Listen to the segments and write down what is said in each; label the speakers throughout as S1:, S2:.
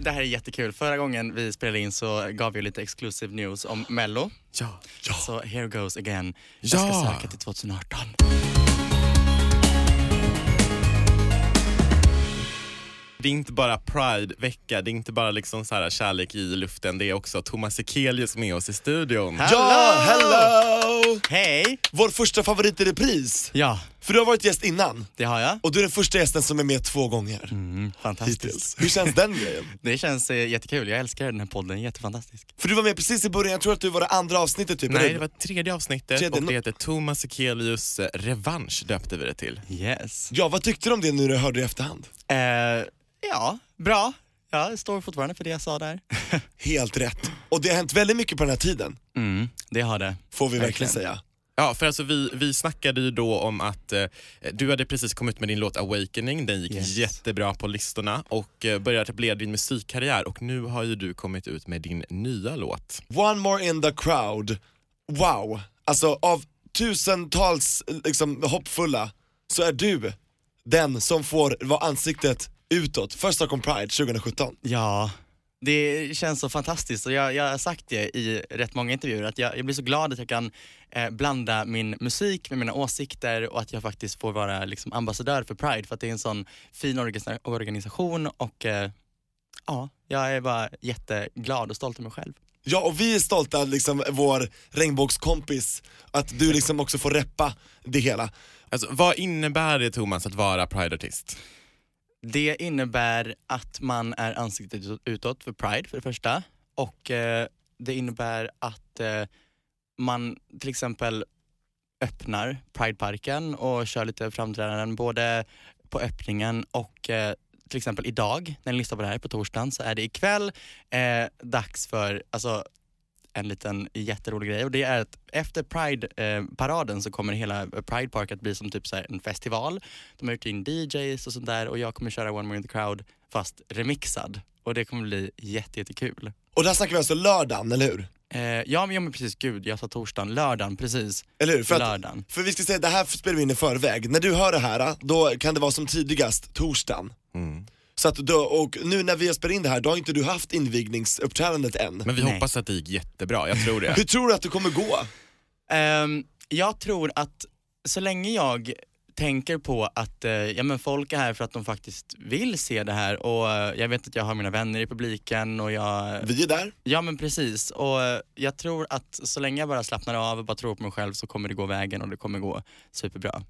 S1: Det här är jättekul. Förra gången vi spelade in så gav vi lite exclusive news om Mello.
S2: Ja, ja.
S1: Så here goes again.
S2: Ja.
S1: Jag ska söka till 2018.
S2: Det är inte bara Pride-vecka, det är inte bara liksom så här kärlek i luften. Det är också Thomas Ekelius med oss i studion.
S3: Ja, hello!
S1: Hej!
S3: Vår första favorit i repris.
S1: Ja,
S3: För du har varit gäst innan
S1: det har jag.
S3: och du är den första gästen som är med två gånger
S2: Mm,
S1: Fantastiskt.
S3: hittills. Hur känns den grejen?
S1: Det känns eh, jättekul. Jag älskar den här podden. Jättefantastisk.
S3: För du var med precis i början, jag tror att du var det andra avsnittet typ. eller
S2: Nej,
S3: hur?
S2: det var tredje avsnittet
S3: Tredje,
S2: och
S3: no-
S2: det heter Thomas Ekelius revansch döpte vi det till.
S1: Yes.
S3: Ja, vad tyckte du om det nu du hörde i efterhand?
S1: Eh, ja, bra. Jag står fortfarande för det jag sa där.
S3: Helt rätt. Och det har hänt väldigt mycket på den här tiden,
S1: Mm, det har det.
S3: får vi verkligen
S1: Verkligen.
S3: säga.
S2: Ja, för alltså vi, vi snackade ju då om att eh, du hade precis kommit med din låt Awakening, den gick
S1: Yes.
S2: jättebra på listorna och eh, började etablera din musikkarriär och nu har ju du kommit ut med din nya låt.
S3: One more in the crowd. Wow. Alltså av tusentals liksom, hoppfulla så är du den som får vara ansiktet utåt för Stockholm Pride 2017.
S1: Ja, det känns så fantastiskt och jag, jag har sagt det i rätt många intervjuer att jag, jag blir så glad att jag kan eh, blanda min musik med mina åsikter och att jag faktiskt får vara liksom, ambassadör för Pride för att det är en sån fin organisa- organisation och eh, ja, jag är bara jätteglad och stolt över mig själv.
S3: Ja, och vi är stolta, liksom, vår regnbågskompis, att du liksom också får reppa det hela.
S2: Alltså, vad innebär det Thomas att vara Pride-artist?
S1: Det innebär att man är ansiktet ut- utåt för Pride för det första och eh, det innebär att eh, man till exempel öppnar Prideparken och kör lite framträdanden både på öppningen och eh, till exempel idag, när ni lyssnar på det här på torsdagen, så är det ikväll eh, dags för alltså, en liten jätterolig grej och det är att efter Pride-paraden så kommer hela Pride Park att bli som typ så här en festival de har gjort in DJs och sånt där och jag kommer köra One More In The Crowd fast remixad. Och det kommer bli jätte, jättekul.
S3: Och där snackar vi alltså lördagen, eller hur?
S1: Eh, ja, men, ja men precis, gud jag sa torsdagen, lördagen, precis.
S3: Eller hur? För, att,
S1: lördagen.
S3: för vi ska säga, det här spelar vi in i förväg. När du hör det här, då kan det vara som tidigast torsdagen. Så att då, och nu när vi spelar in det här, då har inte du haft invigningsuppträdandet än.
S2: Men vi
S1: Nej.
S2: hoppas att det gick jättebra, jag tror det.
S3: Hur tror du att det kommer gå?
S1: Ehm, jag tror att så länge jag tänker på att eh, ja, men folk är här för att de faktiskt vill se det här och eh, jag vet att jag har mina vänner i publiken och jag...
S3: Vi är där.
S1: Ja men precis och eh, jag tror att så länge jag bara slappnar av och bara tror på mig själv så kommer det gå vägen och det kommer gå superbra.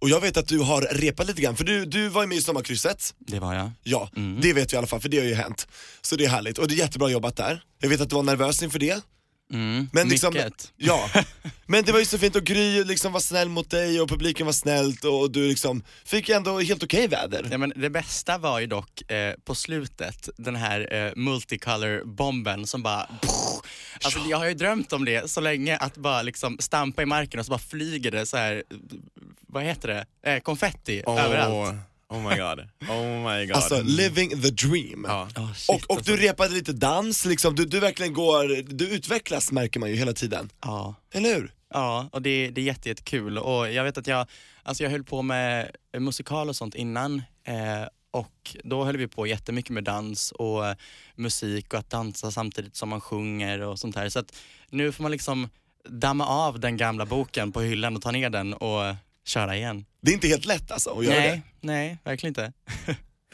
S3: Och jag vet att du har repat lite grann, för du, du var ju med i Sommarkrysset.
S1: Det var jag.
S3: Ja,
S1: Mm.
S3: det vet vi i alla fall, för det har ju hänt. Så det är härligt, och det är jättebra jobbat där. Jag vet att du var nervös inför det.
S1: Mm,
S3: Men liksom-
S1: mycket.
S3: Ja, men det var ju så fint och Gry liksom var snäll mot dig och publiken var snällt och du liksom fick ändå helt okej väder.
S1: Ja, men det bästa var ju dock eh, på slutet, den här eh, multicolor-bomben som bara... Alltså, jag har ju drömt om det så länge, att bara liksom stampa i marken och så bara flyger det så här, eh, vad heter det, eh, konfetti överallt.
S2: oh my god. Oh my god.
S3: Alltså living the dream.
S2: ja.
S1: Oh, shit,
S3: Och, och du repade lite dans, liksom. du, du verkligen går, du utvecklas märker man ju hela tiden.
S1: Ja.
S3: Eller hur?
S1: Ja, och det, det är jätte- jättekul. och jag vet att jag, alltså jag höll på med musikal och sånt innan eh, och då höll vi på jättemycket med dans och eh, musik och att dansa samtidigt som man sjunger och sånt här. Så att nu får man liksom damma av den gamla boken på hyllan och ta ner den och eh, köra igen.
S3: Det är inte helt lätt alltså att göra
S1: Nej,
S3: det.
S1: nej, verkligen inte.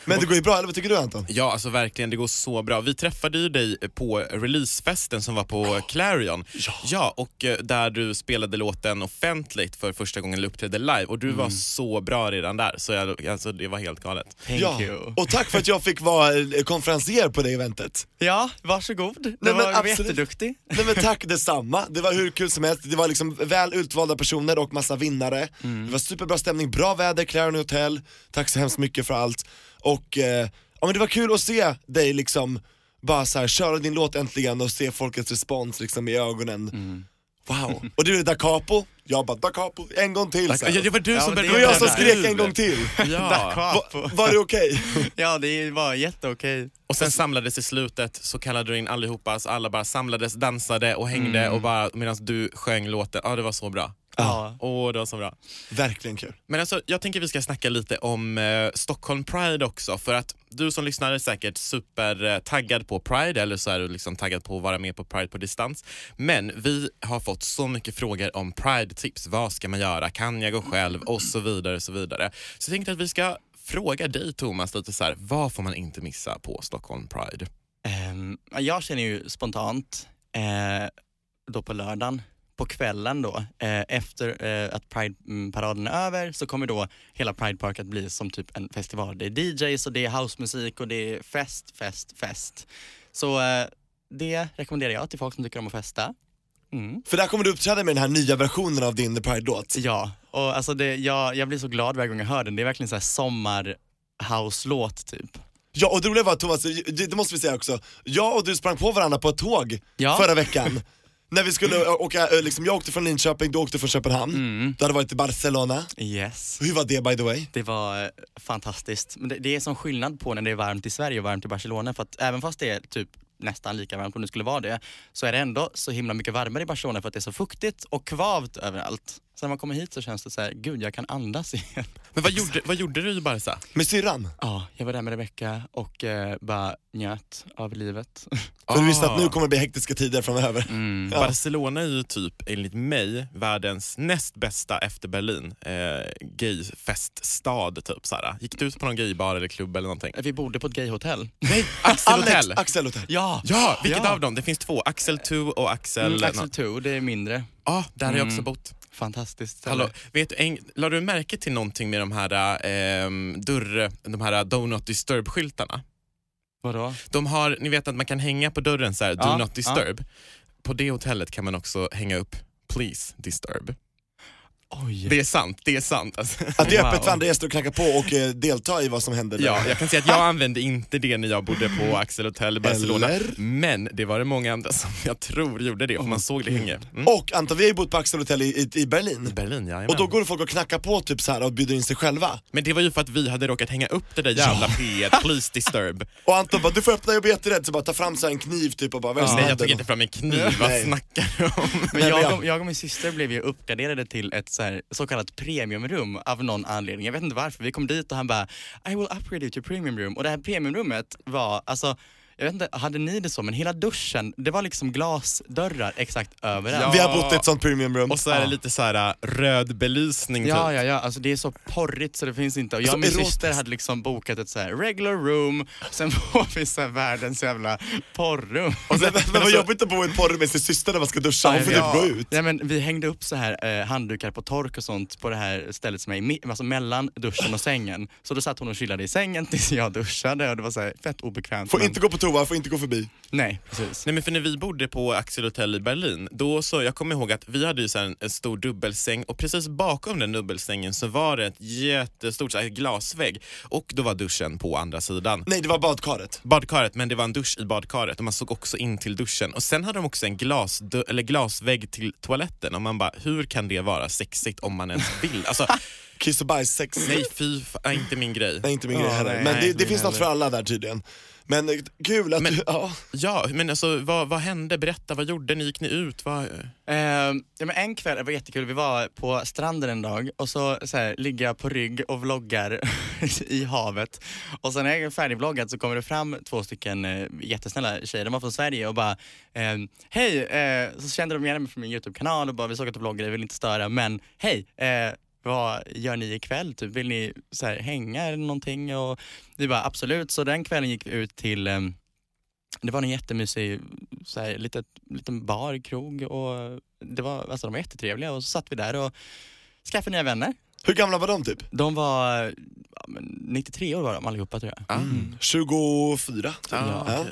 S3: Men det går ju bra, eller vad tycker du Anton?
S2: Ja, alltså verkligen, det går så bra. Vi träffade ju dig på releasefesten som var på Clarion. Ja. och eh, där du spelade låten offentligt för första gången eller uppträdde live och du var
S3: Mm.
S2: så bra redan där, så jag, alltså, det var helt galet.
S1: Thank
S3: ja.
S1: you.
S3: Och tack för att jag fick vara eh, konferencier på det eventet.
S1: Ja, varsågod. Du
S3: men
S1: var, du var
S3: absolut.
S1: jätteduktig.
S3: Nej men tack detsamma, det var hur kul som helst, det var liksom väl utvalda personer och massa vinnare.
S2: Mm.
S3: Det var superbra stämning, bra väder, Clarion Hotel, tack så hemskt mycket för allt. Och eh, ja, men det var kul att se dig
S2: Mm.
S3: liksom bara så här, köra din låt äntligen och se folkets respons liksom i ögonen. Wow. Och du är da capo, jag bara da capo, en gång till. så
S2: Ja,
S3: här.
S2: det var du
S1: Ja, men
S2: som började
S3: det var jag som
S2: där.
S3: skrek en gång till.
S2: Ja.
S3: Va, var det okej?
S1: Ja, det var jätteokej.
S2: Och sen samlades i slutet så kallade du in allihopa, så alla bara samlades, dansade och hängde
S3: Mm.
S2: och bara medan du sjöng låten. Ja, det var så bra.
S1: Ja.
S2: Åh, det var så bra.
S3: Verkligen kul.
S2: Men alltså, jag tänker vi ska snacka lite om eh, Stockholm Pride också. För att du som lyssnar är säkert supertaggad eh, taggad på Pride eller så är du liksom taggad på att vara med på Pride på distans. Men vi har fått så mycket frågor om Pride-tips. Vad ska man göra? Kan jag gå själv? Och så vidare. och Så vidare. Så jag tänkte att vi ska fråga dig Thomas lite så här, vad får man inte missa på Stockholm Pride?
S1: Ehm, jag känner ju spontant, eh, då på lördagen, på kvällen då, eh, efter eh, att Pride-paraden är över så kommer då hela Pride Park att bli som typ en festival. Det är DJs och det är housemusik och det är fest, fest, fest. Så eh, det rekommenderar jag till folk som tycker om att festa. Mm.
S3: För där kommer du uppträda med den här nya versionen av din The Pride-låt.
S1: Ja, och alltså det, jag, jag blir så glad varje gång jag hör den. Det är verkligen så här sommar-house-låt typ.
S3: Ja, och det roliga var att Thomas, det, det måste vi säga också, jag och du sprang på varandra på ett tåg
S1: Ja.
S3: förra veckan. När vi skulle ö, åka, ö, liksom, jag åkte från Linköping, du åkte från Köpenhamn,
S2: Mm.
S3: du hade varit i Barcelona.
S1: Yes.
S3: Hur var det by the way?
S1: Det var eh, fantastiskt. Men det, det är som skillnad på när det är varmt i Sverige och varmt i Barcelona. För att även fast det är typ nästan lika varmt om det skulle vara det, så är det ändå så himla mycket varmare i Barcelona för att det är så fuktigt och kvavt överallt. Så när man kommer hit så känns det så här, gud jag kan andas igen.
S2: Men vad gjorde, vad gjorde du i Barca?
S3: Med syrran?
S1: Ja, jag var där med Rebecca och eh, bara njöt av
S3: För
S1: livet.
S3: du visste
S2: Ah. Mm.
S3: att nu kommer det bli hektiska tider framöver. Ja.
S2: Barcelona är ju typ, enligt mig, världens näst bästa efter Berlin. Eh, gayfeststad, typ. Såhär. Gick du ut på någon gaybar eller klubb eller någonting?
S1: Vi bodde på ett gayhotell.
S2: Nej, Axel
S3: Alex,
S2: Hotel!
S3: Axel Hotel.
S1: Ja!
S2: Ja, vilket
S1: Ja.
S2: av dem? Det finns två. Axel 2 och Axel...
S1: Mm, Axel
S2: nå-
S1: 2, det är mindre.
S2: Ja, där har jag också bott.
S1: Fantastiskt.
S2: Hallå, vet du, en, la du märke till någonting med de här ehm, dörr... De här Donut Disturb-skyltarna?
S1: Vadå?
S2: De har, ni vet att man kan hänga på dörren så här, do
S1: Ja,
S2: not disturb. På det hotellet kan man också hänga upp please disturb.
S1: Oj.
S2: Det är sant, det är sant. Alltså.
S3: Att det är
S1: Wow.
S3: öppet för andra gäster att knacka på och eh, delta i vad som händer där.
S2: Ja, jag kan säga att jag använde inte det när jag bodde på Axel Hotel i Barcelona.
S3: Mm. Eller?
S2: Men det var det många andra som jag tror gjorde det, för man såg det hänga. Mm.
S3: Och Anton, vi har ju bott på Axel Hotel i, i, i Berlin.
S2: Berlin, ja,
S3: Och då går folk och knackar på typ så här och bjuder in sig själva.
S2: Men det var ju för att vi hade råkat hänga upp det där jävla P1, please disturb.
S3: Och Anton bara, du får öppna, jag blir jätterädd. Så bara, ta fram så här en kniv typ och bara, vad är det som
S2: Nej, jag
S3: händer?
S2: tog inte fram en kniv, vad
S3: Nej.
S2: snackar du om?
S1: Men
S3: Nej, men
S1: jag,
S3: jag-
S1: och, jag och min syster blev ju uppgraderade till ett så, här, så kallat premiumrum av någon anledning. Jag vet inte varför. Vi kom dit och han bara I will upgrade you to premium room. Och det här premiumrummet var, alltså jag vet inte, hade ni det så? Men hela duschen, det var liksom glasdörrar exakt överallt.
S3: Vi har bott i ett sånt premiumrum.
S2: Och så är det lite så här äh, röd belysning
S1: Ja,
S2: typ.
S1: ja, ja. Alltså det är så porrigt så det finns inte. Och Jag
S3: Alltså,
S1: och min
S3: erotiskt.
S1: syster hade liksom bokat ett så här regular room, sen får vi så här världens jävla Alltså, porrrum.
S3: Men, men, vad
S2: alltså-
S3: jobbigt att bo i ett porr med sin syster när man ska duscha, hon får
S1: Nej,
S3: typ
S1: men-
S3: gå ut.
S1: Nej, men vi hängde upp så här eh, handdukar på tork och sånt på det här stället som är i mi- alltså mellan duschen och sängen. Så då satt hon och chillade i sängen tills jag duschade och det var så här fett obekvämt.
S3: Får
S1: men-
S3: inte gå på toa, får inte gå förbi.
S1: Nej, precis.
S2: Nej men för när vi bodde på Axel Hotel i Berlin, då så, jag kommer ihåg att vi hade ju så här en, en stor dubbelsäng och precis bakom den dubbelsängen så var det ett jättestort så här, glasvägg och då var duschen på andra sidan.
S3: Nej, det var badkaret.
S2: Badkaret, men det var en dusch i badkaret och man såg också in till duschen. Och sen hade de också en glas, eller glasvägg till toaletten och man bara, hur kan det vara sexigt om man ens vill? Alltså,
S3: Kiss och bajs, sex.
S2: nej fy fan, inte min grej.
S3: Nej, inte min
S1: Ja,
S3: grej heller.
S1: nej,
S3: Men
S1: nej,
S3: det,
S1: inte
S3: det
S1: min
S3: finns något för
S1: heller.
S3: alla där tydligen. Men eh, kul att
S2: Men-
S3: du, ja.
S2: Ja, men alltså vad, vad hände? Berätta, vad gjorde ni? Gick ni ut? Vad...
S1: Ehm, ja, men en kväll, det var jättekul, vi var på stranden en dag och så, så här, ligger jag på rygg och vloggar i havet. Och sen när jag är färdigvloggad så kommer det fram två stycken eh, jättesnälla tjejer, de var från Sverige och bara ehm, Hej! eh, så kände de igen mig från min YouTube-kanal och bara vi såg att du vloggade, vi vill inte störa men hej! eh, vad gör ni ikväll? Typ, vill ni så här, hänga eller någonting? Och vi bara absolut, så den kvällen gick vi ut till ehm, det var en jättemysig så här, litet, liten bar, krog och det var, alltså, de var jättetrevliga och så satt vi där och skaffade nya vänner.
S3: Hur gamla var de typ?
S1: De var ja, men 93 år var de allihopa tror jag.
S3: 24? Typ.
S2: Ah,
S3: Ja.
S2: okej.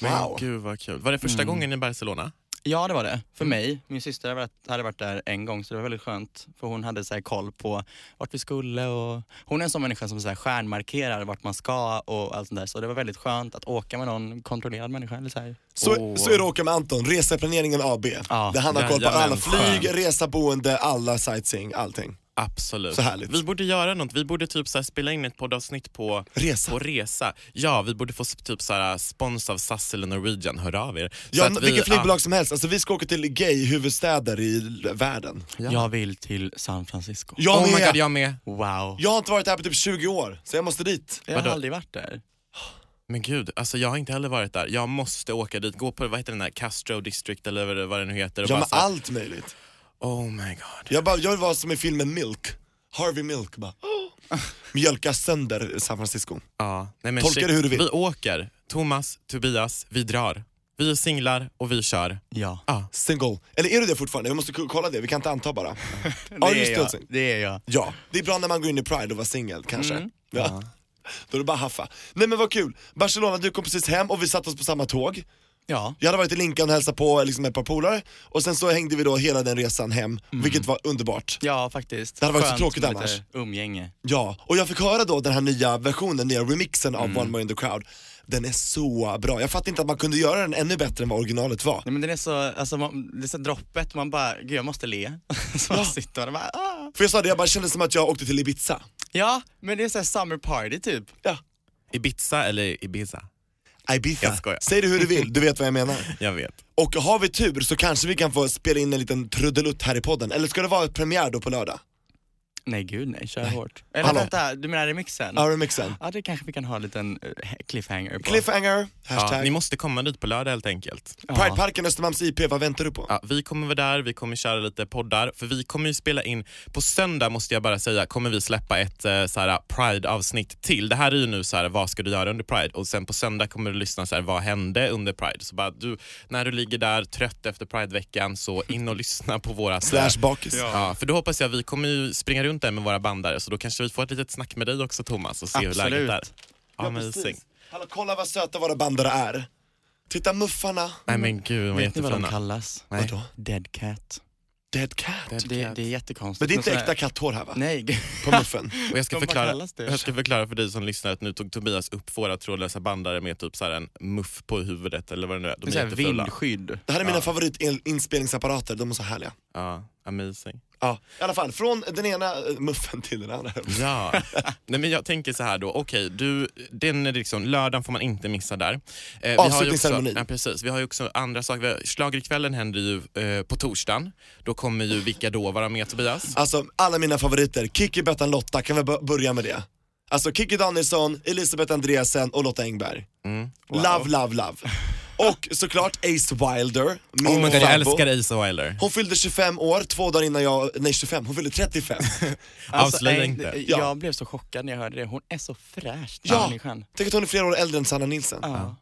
S2: Men
S3: Wow. Mm.
S2: gud vad kul. Var det första gången i Barcelona?
S1: Ja det var det, för mig. Min syster hade varit- hade varit där en gång så det var väldigt skönt för hon hade så här koll på vart vi skulle och hon är en sån människa som så här stjärnmarkerar vart man ska och allt sånt där så det var väldigt skönt att åka med någon kontrollerad människa. Eller så här.
S3: Så, så är det att åka med Anton, reseplaneringen AB.
S1: Ja,
S3: där han har koll på
S2: jajamän,
S3: alla flyg,
S2: skön.
S3: resa, boende, alla sightseeing, allting.
S2: Absolut.
S3: Så härligt.
S2: Vi borde göra något. Vi borde typ så här spela in ett poddavsnitt på
S3: Resa.
S2: på resa. Ja, vi borde få sp- typ så här spons av SAS eller Norwegian. Hör av er. Så
S3: Ja,
S2: att vi- ah.
S3: vilket flygbolag som helst, alltså vi ska åka till gay-huvudstäder i l- världen.
S2: Ja.
S1: Jag vill till San Francisco.
S3: Jag,
S2: oh my
S3: med.
S2: god,
S3: jag...
S2: jag med.
S1: Wow.
S3: har inte varit där på typ 20 år, så jag måste dit.
S1: Jag har
S2: Vadå?
S1: aldrig varit där.
S2: Men gud, alltså jag har inte heller varit där. Jag måste åka dit, gå på vad heter den där Castro District eller vad det- vad det nu heter. Och
S3: Ja
S2: bara
S3: men
S2: så här,
S3: allt möjligt.
S2: Oh my god.
S3: Jag, bara, jag vill vara som i filmen Milk, Harvey Milk bara. "Åh." Mjölka sönder San Francisco.
S2: Ja. Nej, men
S3: Tolka
S2: shit.
S3: det hur du vill.
S2: Vi åker. Thomas, Tobias, vi drar. Vi är singlar och vi kör.
S1: Ja.
S3: Single. Eller är du det fortfarande? Vi måste k- kolla det, vi kan inte anta bara. Are
S1: det, alltså.
S3: you
S1: är
S3: still
S1: jag.
S3: single?
S1: det är jag.
S3: Ja, det är bra när man går in i Pride och var singel kanske.
S1: Mm.
S3: Ja. Då är det bara haffa. Nej men vad kul, Barcelona du kom precis hem och vi satte oss på samma tåg.
S1: Ja.
S3: Jag hade varit i Lincoln och hälsat på liksom, ett par polare och sen så hängde vi då hela den resan hem,
S1: Mm.
S3: vilket var underbart.
S1: Ja, faktiskt.
S3: Det hade varit så
S1: Skönt
S3: tråkigt
S1: med lite
S3: annars.
S1: Umgänge.
S3: Ja, och jag fick höra då den här nya versionen, den nya remixen av
S2: Mm.
S3: One More In The Crowd. Den är så bra, jag fattar inte att man kunde göra den ännu bättre än vad originalet var.
S1: Nej, men den är så, alltså, man, det är så droppet, man bara, gud jag måste le. så man sitter och bara, ah.
S3: För jag sa det, jag bara kände som att jag åkte till Ibiza.
S1: Ja, men det är såhär summer party typ.
S3: Ja.
S2: Ibiza eller Ibiza?
S3: Ibiza.
S2: Jag skojar.
S3: Säg det hur du vill, du vet vad jag menar.
S2: Jag vet.
S3: Och har vi tur så kanske vi kan få spela in en liten trudelutt här i podden, eller ska det vara premiär då på lördag?
S1: Nej gud nej, kör hårt. Eller
S3: Hallå.
S1: vänta, du menar remixen?
S2: Mm.
S3: Ja, remixen.
S1: Ja, det kanske vi kan ha en liten eh, cliffhanger på.
S3: Cliffhanger,
S2: Ja,
S3: hashtag.
S2: ni måste komma dit på lördag helt enkelt.
S3: Prideparken Östermalms IP, vad väntar du på?
S2: Ja, vi kommer vara där, vi kommer köra lite poddar, för vi kommer ju spela in, på söndag måste jag bara säga, kommer vi släppa ett eh, så här, Pride-avsnitt till. Det här är ju nu så här, vad ska du göra under Pride? Och sen på söndag kommer du lyssna så här, vad hände under Pride? Så bara, du, när du ligger där trött efter Pride-veckan så in och lyssna på våra...
S3: Slash bakis.
S2: Ja, för då hoppas jag, vi kommer ju springa runt där med våra bandare, så då kanske vi får ett litet snack med dig också Thomas och se hur
S1: Absolut.
S2: läget är.
S3: Ja,
S2: Amazing.
S3: precis. Hallå, kolla vad söta våra bandare är. Titta muffarna.
S2: Nej men gud, de var
S1: Vet ni vad de
S2: jättefina.
S1: kallas?
S2: Nej.
S3: Vadå?
S1: Dead cat.
S3: Dead cat.
S1: Det, det är jättekonstigt.
S3: Men det är inte
S1: Men sådär-
S3: äkta katthår här va?
S1: Nej, gud.
S3: På muffen.
S2: Och jag, ska
S1: De bara
S2: förklara,
S1: kallas det.
S2: jag ska förklara för dig som lyssnar att nu tog Tobias upp våra trådlösa bandare med typ så här en muff på huvudet eller vad det nu är.
S1: det är
S2: De är
S1: såhär
S2: jättefula.
S1: vindskydd.
S3: Det här är mina favoritinspelningsapparater, de är så härliga.
S2: Ja, amazing.
S3: Ja. I alla fall, från den ena eh, muffen till den andra.
S2: Ja. Nej, men jag tänker så här då, okej, du, den är liksom, lördagen får man inte missa där. Eh, vi har ju
S3: Avslutningsceremoni.
S2: också- Ja, precis. Vi har ju också andra saker. Vi har- Schlagerkvällen händer ju eh, på torsdagen. Då kommer ju Vilka då vara med Tobias?
S3: Alltså, alla mina favoriter. Kikki, Bettan, Lotta, kan vi bör- börja med det? Alltså Kikki Danielsson, Elisabeth Andreasen och Lotta Engberg.
S2: Mm.
S3: Love, love, love. Och såklart Ace Wilder, min
S2: Oh my god, jag
S3: farbror.
S2: älskar Ace Wilder.
S3: Hon fyllde 25 år, två dagar innan jag, nej 25, hon fyllde 35.
S2: Avslöja
S1: Alltså, nej,
S2: inte.
S1: Jag
S3: Ja.
S1: blev så chockad när jag hörde det. Hon är så fräsch den
S3: Ja.
S1: människan.
S3: Tänk att hon är flera år äldre än Sanna Nilsson.
S1: Ja.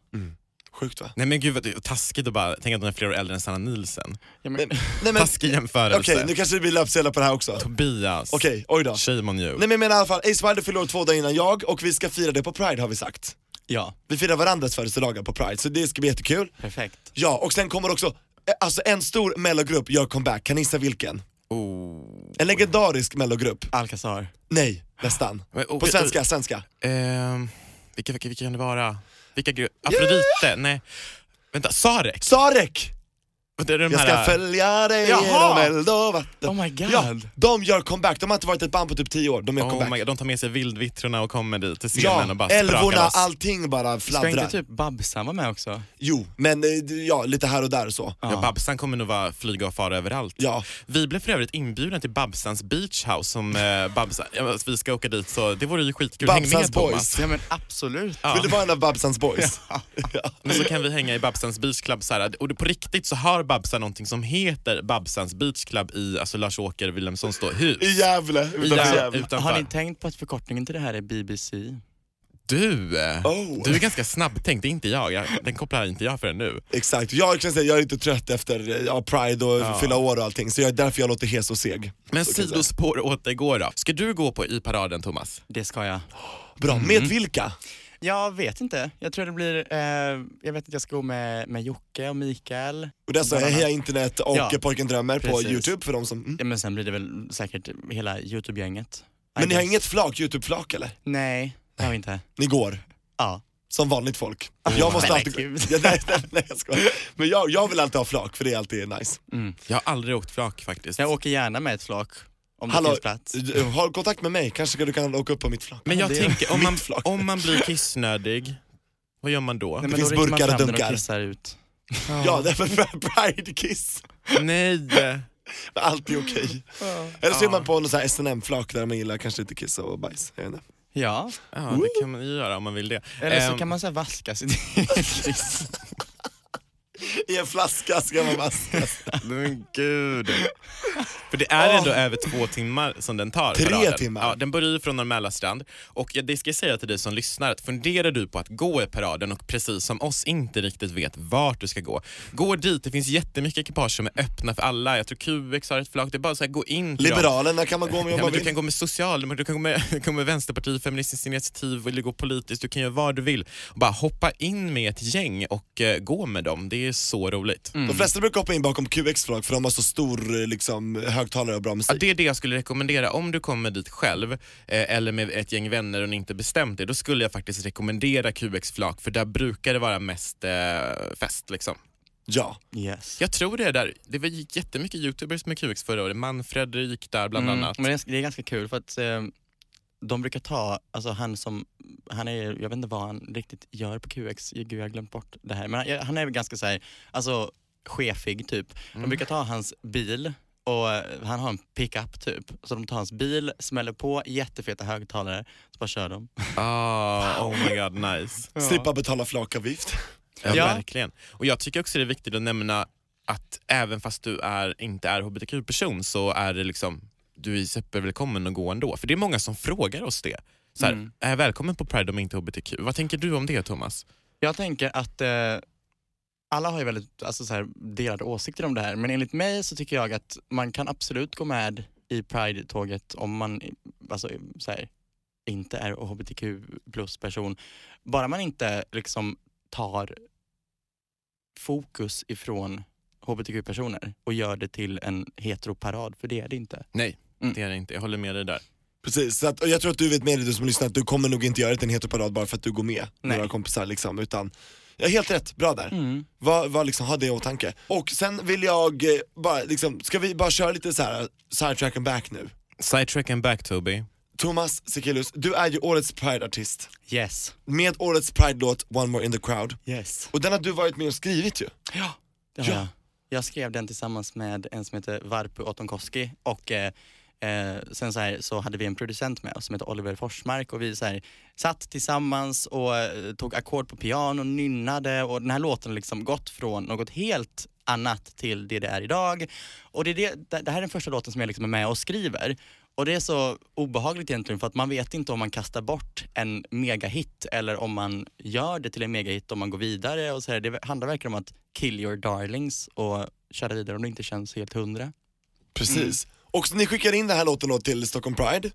S3: Sjukt va?
S2: Nej men gud vad taskigt att bara tänka att hon är flera år äldre än Sanna Nielsen.
S1: Ja, men,
S3: Nej men
S2: Taskig jämförelse.
S3: okej, nu kanske det blir löpsedlar på det här också. Okej,
S2: Tobias.
S3: oj då.
S2: Shame on you.
S3: Nej men jag menar i alla fall, Ace Wilder fyller år två dagar innan jag och vi ska fira det på Pride har vi sagt.
S1: ja,
S3: Vi firar varandras födelsedagar på Pride, så det ska bli jättekul.
S1: perfekt.
S3: Ja, och sen kommer också, eh, alltså en stor mellogrupp gör comeback, kan ni gissa vilken?
S2: Oh.
S3: En legendarisk mellogrupp.
S1: Alcazar.
S3: Nej, nästan.
S2: Men, oh,
S3: På
S2: eh,
S3: svenska, svenska.
S2: Ehm, vilka, vilka, vilka kan det vara? Vilka gru- Afrodite? Nej. Vänta, Sarek?
S3: Sarek!
S2: Vänta, är det de
S3: Jag ska
S2: här-
S3: följa dig
S1: Jaha!
S3: genom eld och vatten.
S1: Oh my god.
S3: Ja, de gör comeback, de har inte varit ett band på typ 10 år, de gör
S2: Oh
S3: comeback.
S2: my God, de tar med sig vildvittrorna och kommer dit till scenen
S3: Ja,
S2: och bara sprakar
S3: älvorna,
S2: loss.
S3: allting bara
S1: Ska inte
S3: fladdrar.
S1: typ Babsan vara med också?
S3: Jo, men eh, ja, lite här och där och så.
S2: Ja, Babsan kommer nog vara flyga och fara överallt.
S3: Ja.
S2: Vi blev för övrigt inbjudna till Babsans beach house som eh, Babsan, ja, alltså, vi ska åka dit så det vore ju skitkul. Häng
S3: Babsans
S2: med
S3: boys.
S2: Thomas.
S1: Ja men absolut.
S3: Vill du vara en av Babsans boys?
S2: Men så kan vi hänga i Babsans beach club så här, och på riktigt så har Babsan någonting som heter Babsans beach club i alltså Lars-Åker Wilhelmssons då hus.
S3: I Gävle, utanför
S2: Gävle.
S3: Gävle.
S1: Alltså,
S2: utanför.
S1: Har ni tänkt på att förkortningen till det här är BBC?
S2: Du, eh,
S3: Oh.
S2: du är ganska snabbtänkt, det är inte jag. jag den kopplar inte jag förrän nu.
S3: Exakt, jag kan säga jag är inte trött efter eh, ja, Pride och fylla år och allting, så jag, därför jag låter hes och seg.
S2: Men
S3: Så kan jag säga.
S2: sidospår återgår då. Ska du gå på i paraden Thomas?
S1: Det ska jag.
S3: Bra, med vilka?
S1: Jag vet inte. Jag tror det blir, eh, jag vet att jag ska gå med, med Jocke och Mikael.
S3: Och där sa jag
S1: Bland annat.
S3: Heja internet och
S1: Ja,
S3: Pojken Drömmer på
S1: precis.
S3: youtube för de som... Mm.
S1: Ja, men sen blir det väl säkert hela Youtube-gänget. I
S3: Men ni har
S1: guess.
S3: inget flak, youtube-flak eller?
S1: Nej, det har vi inte.
S3: Ni går?
S1: Ja.
S3: Som vanligt folk. Jag måste
S1: men
S3: alltid...
S1: gud.
S3: Ja, nej, nej, nej, jag skojar. Men jag, jag vill alltid ha flak för det är alltid nice.
S2: Jag har aldrig åkt flak faktiskt.
S1: Jag åker gärna med ett flak om det
S3: Hallå,
S1: finns plats.
S3: d- ha kontakt med mig, kanske du kan åka upp på mitt flak.
S2: Men jag
S1: det-
S2: tänker, om man,
S3: Mitt flak.
S2: om man blir kissnödig, vad gör man då?
S1: Nej, men
S3: finns
S1: då rycker man
S3: burkar och
S1: fram den
S3: dunkar.
S1: kissar ut.
S3: Ja, det är för pride kiss.
S2: Nej!
S3: Allt är okej. Eller så är man på någon sån här snm flak där man gillar kanske lite kissa och bajs. Jag vet inte.
S1: Ja,
S2: Ja, det kan man ju göra om man vill det.
S1: eller så
S2: Ehm,
S1: kan man så här vaska sitt eget kiss.
S3: I en flaska ska man vaskas.
S2: Men gud. För det är ändå över två timmar som den tar.
S3: Tre
S2: paraden.
S3: timmar?
S2: Ja, den börjar ju från Norrmälarstrand. Och jag- det ska jag säga till dig som lyssnar, att funderar du på att gå i paraden och precis som oss inte riktigt vet vart du ska gå, gå dit. Det finns jättemycket ekipage som är öppna för alla. Jag tror QX har ett flak. Det är bara så här, gå in till dem.
S3: Liberalerna kan man gå med om
S2: Ja,
S3: man
S2: men du kan
S3: vill.
S2: gå med socialdemokraterna, du kan gå med, du kan gå med Vänsterpartiet, Feministiskt initiativ, eller gå politiskt, du kan göra vad du vill. Bara hoppa in med ett gäng och eh, gå med dem, det är så roligt.
S3: De flesta brukar hoppa in bakom QX-flak för de har så stor eh, liksom, högtalare och bra
S2: Ja,
S1: Typ.
S3: musik.
S2: det är det jag skulle rekommendera. Om du kommer dit själv eh, eller med ett gäng vänner och ni inte bestämt er, då skulle jag faktiskt rekommendera QX Flak för där brukar det vara mest eh, fest. Liksom.
S3: Ja.
S1: Yes.
S2: Jag tror det är där. Det var- gick jättemycket youtubers med QX förra året. Manfred gick där bland
S1: Mm,
S2: annat.
S1: Men det är, det är ganska kul för att eh, de brukar ta, alltså han som, han är, jag vet inte vad han riktigt gör på QX, gud jag har glömt bort det här, men han, han är väl ganska så här, alltså chefig typ. De
S2: Mm.
S1: brukar ta hans bil och eh, han har en pickup typ. Så de tar hans bil, smäller på jättefeta högtalare, så bara kör de.
S2: Ah, oh my god, nice.
S3: Slippa betala flakavgift.
S2: Ja,
S1: Ja.
S2: Verkligen. Och jag tycker också det är viktigt att nämna att även fast du är, inte är hbtq-person så är det liksom, du är supervälkommen att gå ändå. För det är många som frågar oss det. Så här,
S1: Mm.
S2: Är jag välkommen på Pride om jag inte är hbtq? Vad tänker du om det Thomas?
S1: Jag tänker att eh, alla har ju väldigt alltså, så här, delade åsikter om det här, men enligt mig så tycker jag att man kan absolut gå med i Pride-tåget om man eh, alltså, eh, så här, inte är hbtq plus-person. Bara man inte liksom tar fokus ifrån hbtq-personer och gör det till en heteroparad, för det är det inte.
S2: Nej,
S3: Mm.
S2: det är det inte. Jag håller med dig där.
S3: Precis, så att, och jag tror att du vet med dig du som lyssnar att du kommer nog inte göra det till en heteroparad bara för att du går med
S1: Nej.
S3: några kompisar liksom, utan ja, helt rätt, bra där.
S2: Mm.
S3: Var, var liksom, ha det i åtanke. Och sen vill jag eh, bara liksom, ska vi bara köra lite så här sidetrack and back nu?
S2: Sidetrack and back Toby.
S3: Thomas Sekelius, du är ju årets Pride-artist
S1: Yes.
S3: med årets Pride-låt One More In The Crowd.
S1: Yes.
S3: Och den har du varit med och skrivit ju.
S1: Ja. ja. Jag skrev den tillsammans med en som heter Varpu Otonkoski och eh, eh, sen så, här, så hade vi en producent med oss som heter Oliver Forsmark och vi så här, satt tillsammans och eh, tog ackord på piano, nynnade och den här låten har liksom gått från något helt annat till det det är idag. Och det, är det, det- det här är den första låten som jag liksom är med och skriver. Och det är så obehagligt egentligen för att man vet inte om man kastar bort en megahit eller om man gör det till en megahit om man går vidare och så här. Det handlar verkligen om att kill your darlings och köra vidare om det inte känns helt hundra.
S3: Precis. Mm. Och så ni skickade in den här låten då till Stockholm Pride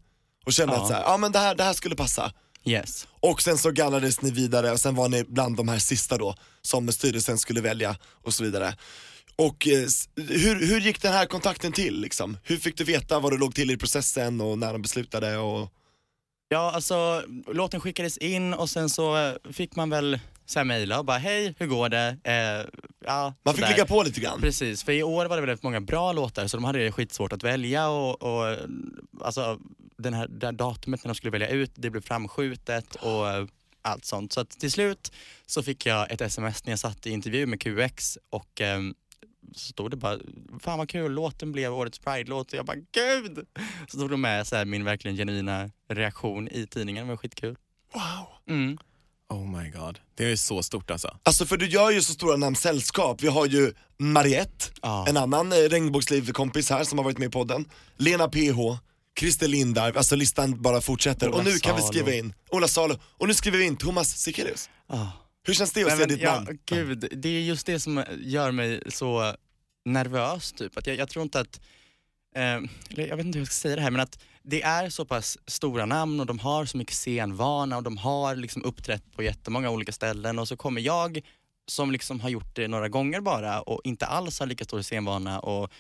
S3: och kände
S1: Ja.
S3: att så här, ja men det här, det här skulle passa.
S1: Yes.
S3: Och sen så gallrades ni vidare och sen var ni bland de här sista då som styrelsen skulle välja och så vidare. Och eh, s- hur, hur gick den här kontakten till liksom? Hur fick du veta vad du låg till i processen och när de beslutade och...
S1: Ja, alltså låten skickades in och sen så eh, fick man väl så här mejla och bara hej, hur går det? Eh, ja,
S3: Man fick
S1: sådär.
S3: ligga på lite grann.
S1: Precis, för i år var det väldigt många bra låtar så de hade det skitsvårt att välja och, och alltså, den här, det här datumet när de skulle välja ut, det blev framskjutet och eh, allt sånt. Så att till slut så fick jag ett sms när jag satt i intervju med QX och ehm, så stod det bara, fan vad kul, låten blev årets Pride-låt och jag bara gud! Så tog de med så här, min verkligen genuina reaktion i tidningen, det var skitkul. Wow! Mm.
S2: Oh my god. Det är ju så stort alltså.
S3: Alltså för du gör ju så stora namn sällskap. Vi har ju Mariette,
S1: Ja.
S3: en annan eh, regnbågsliv-kompis här som har varit med i podden. Lena PH, Christer Lindarw, alltså listan bara fortsätter.
S1: Ola
S3: och nu kan vi
S1: Salo.
S3: skriva in Ola Salo, och nu skriver vi in Thomas Sekelius.
S1: Ah.
S3: Hur känns det att
S1: Nej,
S3: se
S1: men
S3: ditt
S1: ja,
S3: namn?
S1: Gud, det är just det som gör mig så nervös typ. Att jag, jag tror inte att, eh, eller jag vet inte hur jag ska säga det här men att det är så pass stora namn och de har så mycket scenvana och de har liksom uppträtt på jättemånga olika ställen och så kommer jag som liksom har gjort det några gånger bara och inte alls har lika stor scenvana och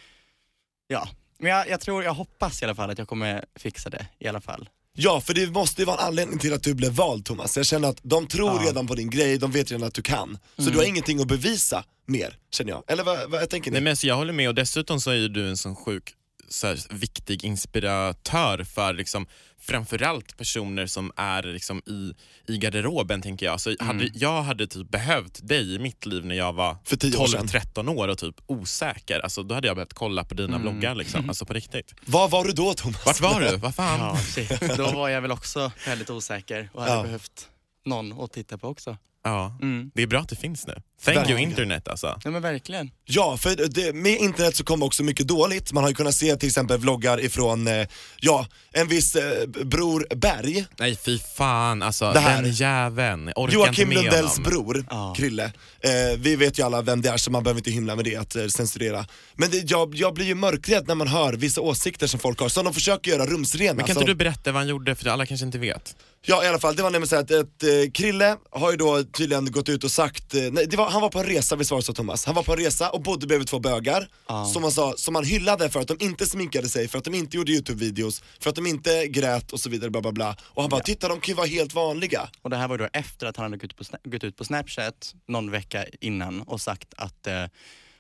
S1: ja. Men jag, jag tror, jag hoppas i alla fall att jag kommer fixa det i alla fall.
S3: Ja, för det måste ju vara en anledning till att du blev vald Thomas. Jag känner att de tror
S1: Ja. Mm.
S3: redan på din grej, de vet redan att du kan. Så du har ingenting att bevisa mer, känner jag. Eller vad, vad tänker ni?
S2: Nej, men alltså, jag håller med och dessutom så är ju du en sån sjuk så här, viktig inspiratör för liksom, framförallt personer som är liksom, i, i garderoben tänker jag.
S3: Mm.
S2: Så hade, jag hade typ behövt dig i mitt liv när jag var
S3: För tio år sedan.
S2: 12-13 år och typ osäker. Alltså, då hade jag behövt kolla på
S3: Mm.
S2: dina bloggar liksom. alltså, på riktigt.
S3: Vad var du då Thomas?
S2: Vart var du? Vad fan?
S1: Ja, shit. Då var jag väl också väldigt osäker och hade
S3: Ja.
S1: behövt någon att titta på också.
S2: Ja.
S1: Mm.
S2: Det är bra att det finns nu. Thank
S3: Verkligen.
S2: you internet alltså.
S1: Ja men verkligen.
S3: Ja, för det, med internet så kom också mycket dåligt. Man har ju kunnat se till exempel vloggar ifrån, eh, ja, en viss eh, Bror Berg.
S2: Nej fy fan alltså,
S3: Det här-
S2: den jäveln. Orkar inte
S3: Joakim
S2: med
S3: Lundells
S2: honom.
S3: bror,
S1: Ja.
S3: Krille. Eh, vi vet ju alla vem det är så man behöver inte hymla med det att eh, censurera. Men det, jag, jag blir ju mörkrädd när man hör vissa åsikter som folk har, som de försöker göra rumsrena. alltså.
S2: Men kan
S3: Så
S2: inte
S3: de-
S2: du berätta vad han gjorde för alla kanske inte vet?
S3: Ja i alla fall, det var nämligen så här att, att eh, Krille har ju då tydligen gått ut och sagt, eh, nej, det var, han var på en resa, vi svarade så Thomas, han var på en resa och bodde bredvid två bögar som, han sa, som han hyllade för att de inte sminkade sig, för att de inte gjorde YouTube-videos, för att de inte grät och så vidare bla bla bla. Och han bara, titta de kan ju vara helt vanliga.
S1: Och det här var ju då efter att han hade gått ut på, Sna- gått ut på Snapchat någon vecka innan och sagt att eh,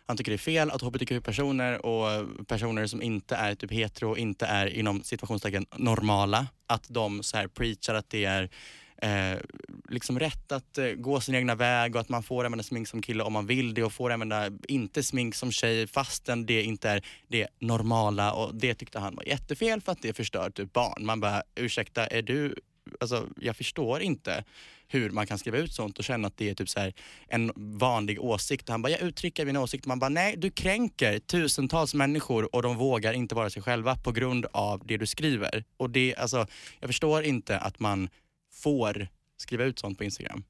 S1: han tycker det är fel att hbtq-personer och personer som inte är typ hetero, inte är inom situationstecken normala, att de så här preachar att det är eh, liksom rätt att eh, gå sin egna väg och att man får använda smink som kille om man vill det och får använda inte smink som tjej fastän det inte är det normala och det tyckte han var jättefel för att det förstör typ barn. Man bara, ursäkta, är du alltså, jag förstår inte hur man kan skriva ut sånt och känna att det är typ så här en vanlig åsikt. Och han bara, jag uttrycker mina åsikter. Man bara, nej du kränker tusentals människor och de vågar inte vara sig själva på grund av det du skriver. Och det, alltså, jag förstår inte att man får skriva ut sånt på Instagram.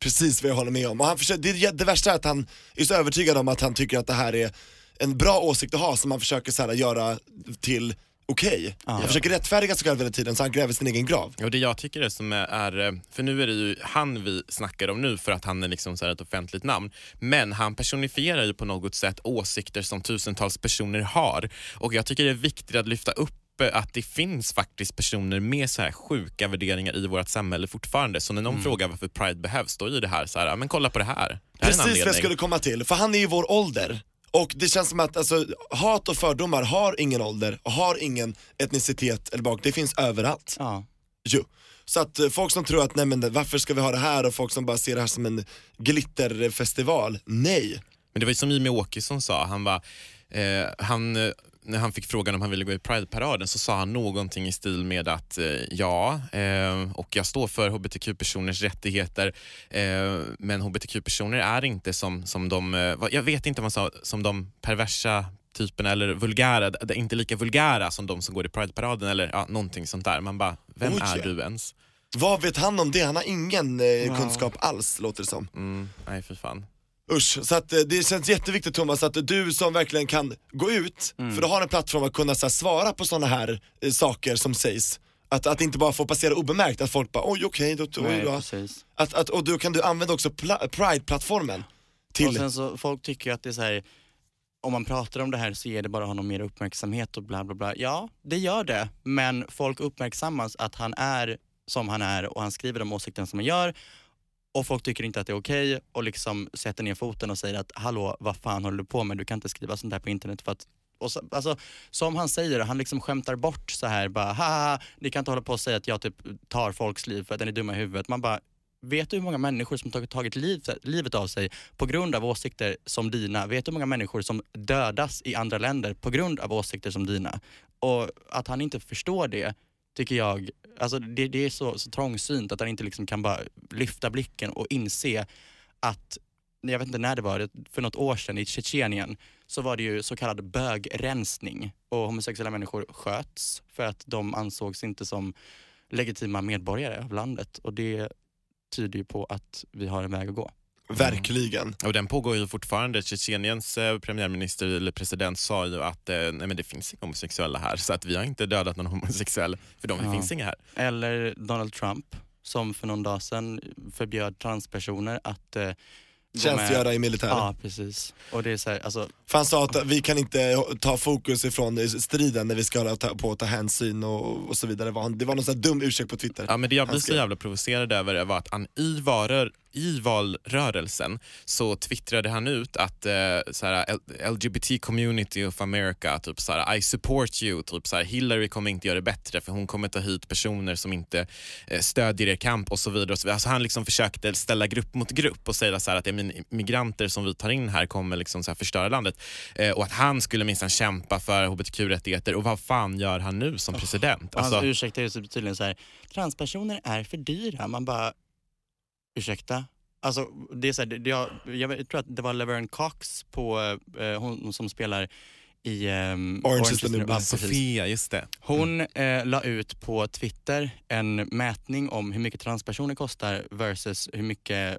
S3: Precis vad jag håller med om. Och han försöker, det, är- det värsta är att han är så övertygad om att han tycker att det här är en bra åsikt att ha som han försöker så här, göra till okej. Han försöker rättfärdiga sig själv hela tiden så han gräver sin egen grav.
S2: Och det jag tycker är som är- är, för nu är det ju han vi snackar om nu för att han är liksom så här ett offentligt namn, men han personifierar ju på något sätt åsikter som tusentals personer har och jag tycker det är viktigt att lyfta upp eh, att det finns faktiskt personer med så här sjuka värderingar i vårt samhälle fortfarande. Så när
S3: Mm.
S2: någon frågar varför Pride behövs, då är ju det här så här, "Ja, men kolla på det här. Det här är en
S3: Precis vad jag
S2: anledning."
S3: skulle komma till, för han är ju vår ålder. Och det känns som att alltså, hat och fördomar har ingen ålder och har ingen etnicitet eller bak. Det finns överallt.
S1: Ja.
S3: Jo. Så att eh, folk som tror att nej men varför ska vi ha det här och folk som bara ser det här som en glitterfestival. Nej.
S2: Men det var ju som Jimmie Åkesson sa, han var, eh, han, eh, när han fick frågan om han ville gå i Pride-paraden så sa han någonting i stil med att eh, ja, eh, och jag står för hbtq-personers rättigheter eh, men hbtq-personer är inte som, som de, eh, vad- jag vet inte vad han sa, som de perversa typerna eller vulgära, d- inte lika vulgära som de som går i Pride-paraden eller ja, någonting sånt där. Man bara, vem
S3: Oj,
S2: är
S3: ja.
S2: du ens?
S3: Vad vet han om det? Han har ingen eh, kunskap alls låter det som.
S2: Mm, nej, för fan.
S3: Usch, så att eh, det känns jätteviktigt Thomas att du som verkligen kan gå ut,
S2: Mm.
S3: för du har en plattform att kunna så här, svara på sådana här eh, saker som sägs. Att, att inte bara få passera obemärkt, att folk bara oj okej, då, då,
S1: Nej,
S3: då.
S1: precis.
S3: Att, att, och då kan du använda också pla- Pride-plattformen
S1: Och
S3: till,
S1: sen så, folk tycker ju att det är så här, om man pratar om det här så ger det bara honom mer uppmärksamhet och bla bla bla. Ja, det gör det. Men folk uppmärksammas att han är som han är och han skriver de åsikterna som han gör. Och folk tycker inte att det är okej och liksom sätter ner foten och säger att hallå, vad fan håller du på med? Du kan inte skriva sånt här på internet för att och så, alltså, som han säger, han liksom skämtar bort så här bara haha, ni kan inte hålla på och säga att jag typ tar folks liv för att den är dumma i huvudet. Man bara, vet du hur många människor som tagit, tagit liv, livet av sig på grund av åsikter som dina? Vet du hur många människor som dödas i andra länder på grund av åsikter som dina? Och att han inte förstår det tycker jag, alltså det, det är så, så trångsynt att han inte liksom kan bara lyfta blicken och inse att, jag vet inte när det var, det- för något år sedan i Tjetjenien så var det ju så kallad bögrensning och homosexuella människor sköts för att de ansågs inte som legitima medborgare av landet och det tyder ju på att vi har en väg att gå.
S3: Verkligen.
S2: Och den pågår ju fortfarande. Tjetjeniens eh, premiärminister eller president sa ju att eh, nej, men det finns inga homosexuella här så att vi har inte dödat någon homosexuell för de
S1: Ja.
S2: finns inga här.
S1: Eller Donald Trump som för någon dag sedan förbjöd transpersoner att eh, gå med.
S3: Tjänstgöra i militären.
S1: Ja, precis. Och det är så här, alltså,
S3: För han sa att vi kan inte ta fokus ifrån eh, striden när vi ska ta, på att ta hänsyn och, och så vidare. Var han- Det var någon sån här dum ursäkt på Twitter.
S2: Ja, men det jag blir
S3: Han
S2: så
S3: skrev-
S2: jävla provocerad över var att han i, varör, i valrörelsen så twittrade han ut att eh, så här, L- LGBT community of America, typ så här, I support you, typ så här, Hillary kommer inte göra det bättre för hon kommer ta hit personer som inte eh, stödjer er kamp och så vidare. Och så vidare. Alltså, han liksom försökte ställa grupp mot grupp och säga så här, att ja, men migranter som vi tar in här kommer liksom så här, förstöra landet. Eh, och att han skulle minsann kämpa för hbtq-rättigheter och vad fan gör han nu som president?
S1: och hans
S2: Alltså-
S1: ursäkt är ju så tydligen så här, transpersoner är för dyra. Man bara, ursäkta? Alltså, det är så här, det, det- jag, jag vet- jag tror att det var Laverne Cox på, eh, hon som spelar i ehm,
S3: Orange is the new
S1: ja,
S3: black.
S1: precis.
S2: Sofia, just det.
S1: Hon eh, la ut på Twitter en mätning om hur mycket transpersoner kostar versus hur mycket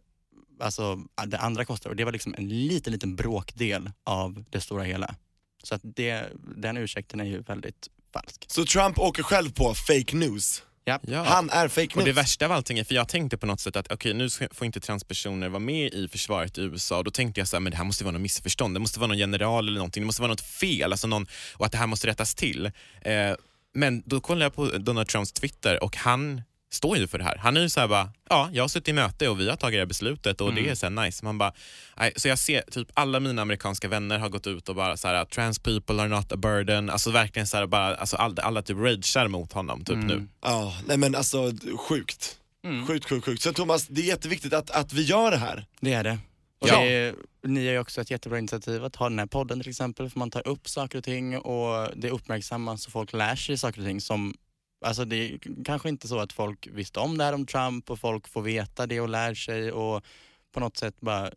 S1: alltså, det andra kostar. Och det var liksom en liten, liten bråkdel av det stora hela. Så att det, den ursäkten är ju väldigt falsk.
S3: Så Trump åker själv på fake news.
S1: Ja.
S2: Ja.
S3: Han är fake
S2: och det
S3: news.
S2: värsta av allting är, för jag tänkte på något sätt att okej nu ska- får inte transpersoner vara med i försvaret i USA. Då tänkte jag så här, men det här måste vara något missförstånd. Det måste vara någon general eller någonting. Det måste vara något fel alltså någon, och att det här måste rättas till. Eh, men då kollade jag på Donald Trumps Twitter och han står ju för det här. Han är ju så här bara, ja jag har suttit i möte och vi har tagit det här beslutet och det är så här nice. Man bara, nej. Så jag ser typ alla mina amerikanska vänner har gått ut och bara så här, trans people are not a burden. Alltså verkligen så här bara, alltså alla, alla typ ragear mot honom typ nu.
S3: Ja, nej men alltså sjukt.
S1: Mm.
S3: Sjukt, sjukt, sjukt. Så Thomas, det är jätteviktigt att, att vi gör det här.
S1: Det är det. Och
S2: Ja.
S1: det är, ni har ju också ett jättebra initiativ att ha den här podden till exempel. För man tar upp saker och ting och det uppmärksammas och folk lär sig saker och ting som Alltså det är kanske inte så att folk visste om det här om Trump och folk får veta det och lär sig och på något sätt bara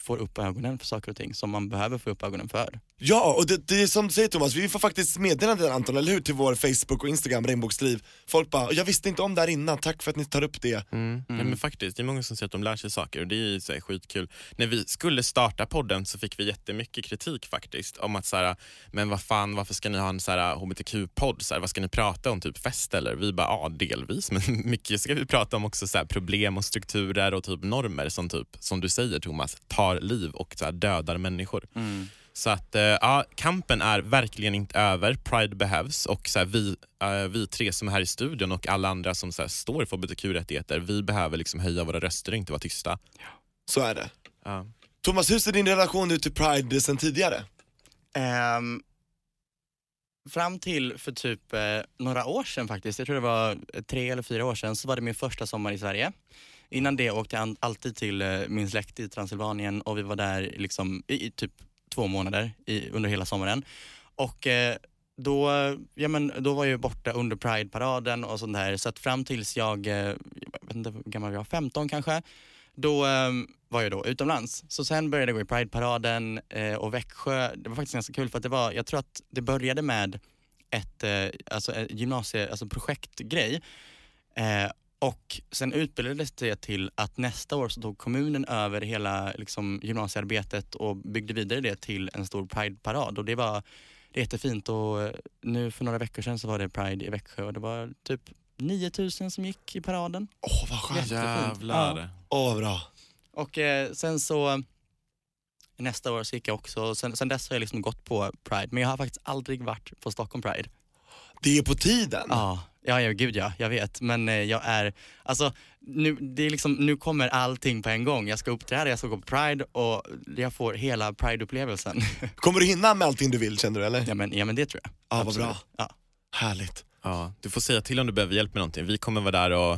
S1: får upp ögonen för saker och ting som man behöver få upp ögonen för.
S3: Ja, och det, det är som du säger Thomas, vi får faktiskt meddelanden Anton, eller hur? Till vår Facebook och Instagram, Regnbågsliv. Folk bara, jag visste inte om det här innan, tack för att ni tar upp det.
S1: Mm.
S2: Ja, men faktiskt, det är många som säger att de lär sig saker och det är ju så här, skitkul. När vi skulle starta podden så fick vi jättemycket kritik faktiskt om att så här, men vad fan, varför ska ni ha en så här, hbtq-podd? Så här, vad ska ni prata om? Typ fest eller? Vi bara, ja delvis, men mycket ska vi prata om också så här, problem och strukturer och typ normer som typ, som du säger Thomas, tar liv och så här, dödar människor. Så att eh, ja, kampen är verkligen inte över. Pride behövs och så här, vi, eh, vi tre som är här i studion och alla andra som så här, står för hbtq-rättigheter, vi behöver liksom höja våra röster och inte vara tysta.
S3: Så är det.
S2: Ja.
S3: Thomas, hur ser din relation ut till Pride sen tidigare?
S1: Ehm, fram till för typ eh, några år sedan faktiskt, jag tror det var eh, tre eller fyra år sedan, så var det min första sommar i Sverige. Innan det åkte jag an- alltid till eh, min släkt i Transylvanien och vi var där liksom i, i typ två månader i, under hela sommaren. Och eh, då, ja, men, då var jag ju borta under Pride-paraden och sånt där. Så att fram tills jag, eh, jag vet inte hur gammal jag var, 15 kanske, då eh, var jag då utomlands. Så sen började jag gå i Pride-paraden eh, och Växjö. Det var faktiskt ganska kul för att det var, jag tror att det började med ett, eh, alltså, ett gymnasie, alltså projektgrej. Eh, och sen utbildades det till att nästa år så tog kommunen över hela liksom, gymnasiearbetet och byggde vidare det till en stor Pride-parad. Och det var det är jättefint och eh, nu för några veckor sedan så var det Pride i Växjö och det var typ 9000 som gick i paraden.
S3: Åh, vad skönt.
S1: Jättefint.
S2: Jävlar.
S3: Åh, vad bra.
S1: Och eh, sen så nästa år så gick jag också, sen, sen dess har jag liksom gått på Pride men jag har faktiskt aldrig varit på Stockholm Pride.
S3: Det är på tiden.
S1: Ja, ja, ja gud ja, jag vet. Men eh, jag är, alltså nu, det är liksom, nu kommer allting på en gång. Jag ska uppträda, jag ska gå på Pride och jag får hela Pride-upplevelsen.
S3: Kommer du hinna med allting du vill känner du eller?
S1: ja, men, ja men det tror jag.
S3: Ja, vad
S1: Absolut.
S3: bra.
S1: Ja.
S3: Härligt.
S2: Ja, du får säga till om du behöver hjälp med någonting. Vi kommer vara där och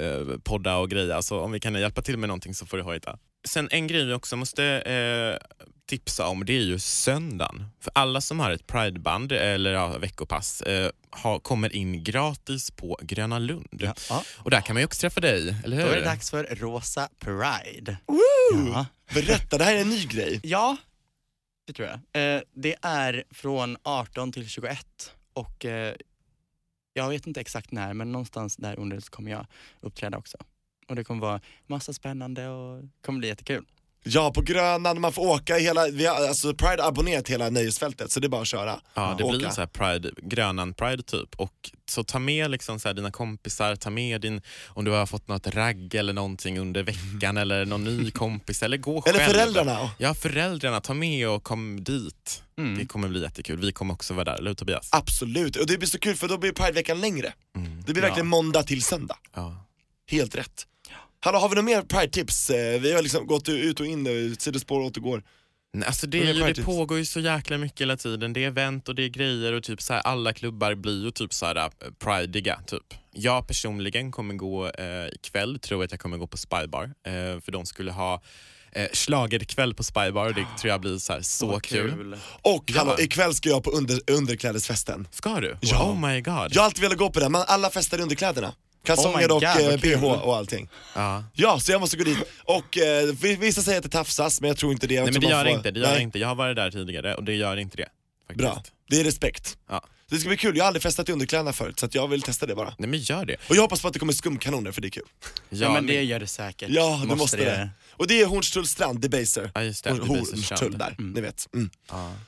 S2: eh, podda och greja. Så om vi kan hjälpa till med någonting så får du hojta. Sen en grej vi också måste eh, tipsa om det är ju söndagen. För alla som har ett prideband eller ja, veckopass eh, har, kommer in gratis på Gröna Lund.
S1: Ja.
S2: Och där kan man ju också träffa dig, eller hur?
S1: Då är det dags för Rosa Pride. Ja.
S3: Berätta, det här är en ny grej.
S1: Ja, det tror jag. Eh, det är från 18 till 21 och eh, jag vet inte exakt när men någonstans där under så kommer jag uppträda också. Och det kommer vara massa spännande och det kommer bli jättekul.
S3: Ja, på Grönan, man får åka i hela, vi har, alltså Pride har abonnerat hela nöjesfältet så det är bara att köra.
S2: Ja, det
S3: Åka.
S2: blir så här pride, Grönan-pride typ. Och så ta med liksom så här dina kompisar, ta med din, om du har fått något ragg eller någonting under veckan eller någon ny kompis eller gå
S3: Eller
S2: själv.
S3: föräldrarna.
S2: Ja, föräldrarna. Ta med och kom dit.
S3: Mm.
S2: Det kommer bli jättekul. Vi kommer också vara där, eller hur Tobias?
S3: Ah. Absolut, och det blir så kul för då blir Prideveckan längre.
S2: Mm.
S3: Det blir verkligen måndag till söndag.
S2: Ja.
S3: Helt rätt. Hallå, har vi några mer Pride-tips? Eh, Vi har liksom gått ut och in nu, sidospår och återgår.
S2: Nej, Alltså det,
S3: Vad
S2: är
S3: är
S2: ju, det
S3: Pride-tips?
S2: pågår ju så jäkla mycket hela tiden. Det är event och det är grejer och typ så här, alla klubbar blir ju typ så här eh, prideiga. Typ. Jag personligen kommer gå eh, ikväll, tror att jag kommer gå på Spybar. Eh, för de skulle ha eh, schlagerkväll på Spybar och det tror jag blir så, här, så kul.
S3: Och
S2: Ja.
S3: hallå, ikväll ska jag på under, underklädesfesten.
S2: Ska du?
S3: Ja.
S2: Oh my god.
S3: Jag har alltid velat gå på den, men alla festar i underkläderna. Kalsonger
S1: Oh my
S3: och
S1: God, vad
S3: eh,
S1: kul.
S3: bh och allting.
S2: Ja.
S3: Ja, så jag måste gå dit. Och eh, vi- vissa säger att det tafsas, men jag tror inte det. Jag
S2: Nej men
S3: tror
S2: det
S3: man
S2: gör
S3: får-
S2: inte. Det gör
S3: Nej.
S2: inte. Jag har varit där tidigare och det gör inte det. Faktiskt.
S3: Bra, det är respekt.
S2: Ja.
S3: Det ska bli kul, jag har aldrig festat i underkläderna förut så att jag vill testa det bara.
S2: Nej men gör det.
S3: Och jag hoppas på att det kommer skumkanoner för det är kul.
S1: Ja, men det
S2: ni-
S1: gör det säkert.
S3: Ja, det måste, det. Och det är Hornstull strand, Debaser.
S2: Ja, just det,
S3: Hor-
S2: Debaser
S3: Hornstull
S2: strand.
S3: där, ni vet. Mm.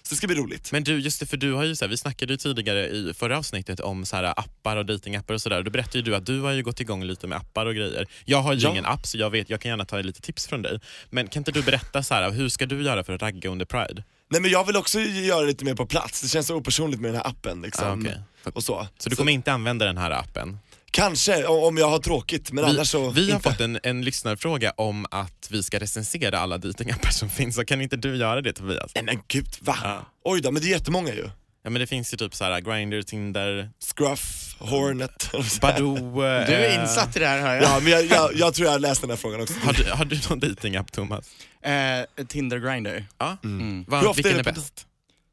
S3: Så det ska bli roligt.
S2: Men du, just det, för du har ju så här, vi snackade ju tidigare i förra avsnittet om så här, appar och datingappar och sådär. Då berättade ju du att du har ju gått igång lite med appar och grejer. Jag har ju
S3: Ja.
S2: ingen app så jag vet, jag kan gärna ta lite tips från dig. Men kan inte du berätta så här, hur ska du göra för att ragga under Pride?
S3: Nej men jag vill också göra lite mer på plats, det känns så opersonligt med den här appen liksom.
S2: Ah, okej.
S3: Och så.
S2: Så du kommer inte använda den här appen?
S3: Kanske, o- om jag har tråkigt, men
S2: Vi,
S3: annars så
S2: vi har
S3: inte.
S2: fått en, en lyssnarfråga om att vi ska recensera alla datingappar som finns. Så kan inte du göra det Tobias?
S3: Nej men gud, va? Oj då, men det är jättemånga ju.
S2: Ja, men det finns ju typ så här, Grindr, Tinder,
S3: Scruff, Hornet.
S2: Badoo. eh,
S1: Du är insatt i det här hör jag.
S3: ja men jag, jag, jag tror jag har läst den här frågan också.
S2: Har du, har du någon datingapp Thomas?
S1: Eh, Tinder Grinder.
S2: Ja.
S1: Mm.
S2: Va,
S3: Hur ofta
S2: vilken
S3: är
S2: är
S3: det på-
S2: bäst?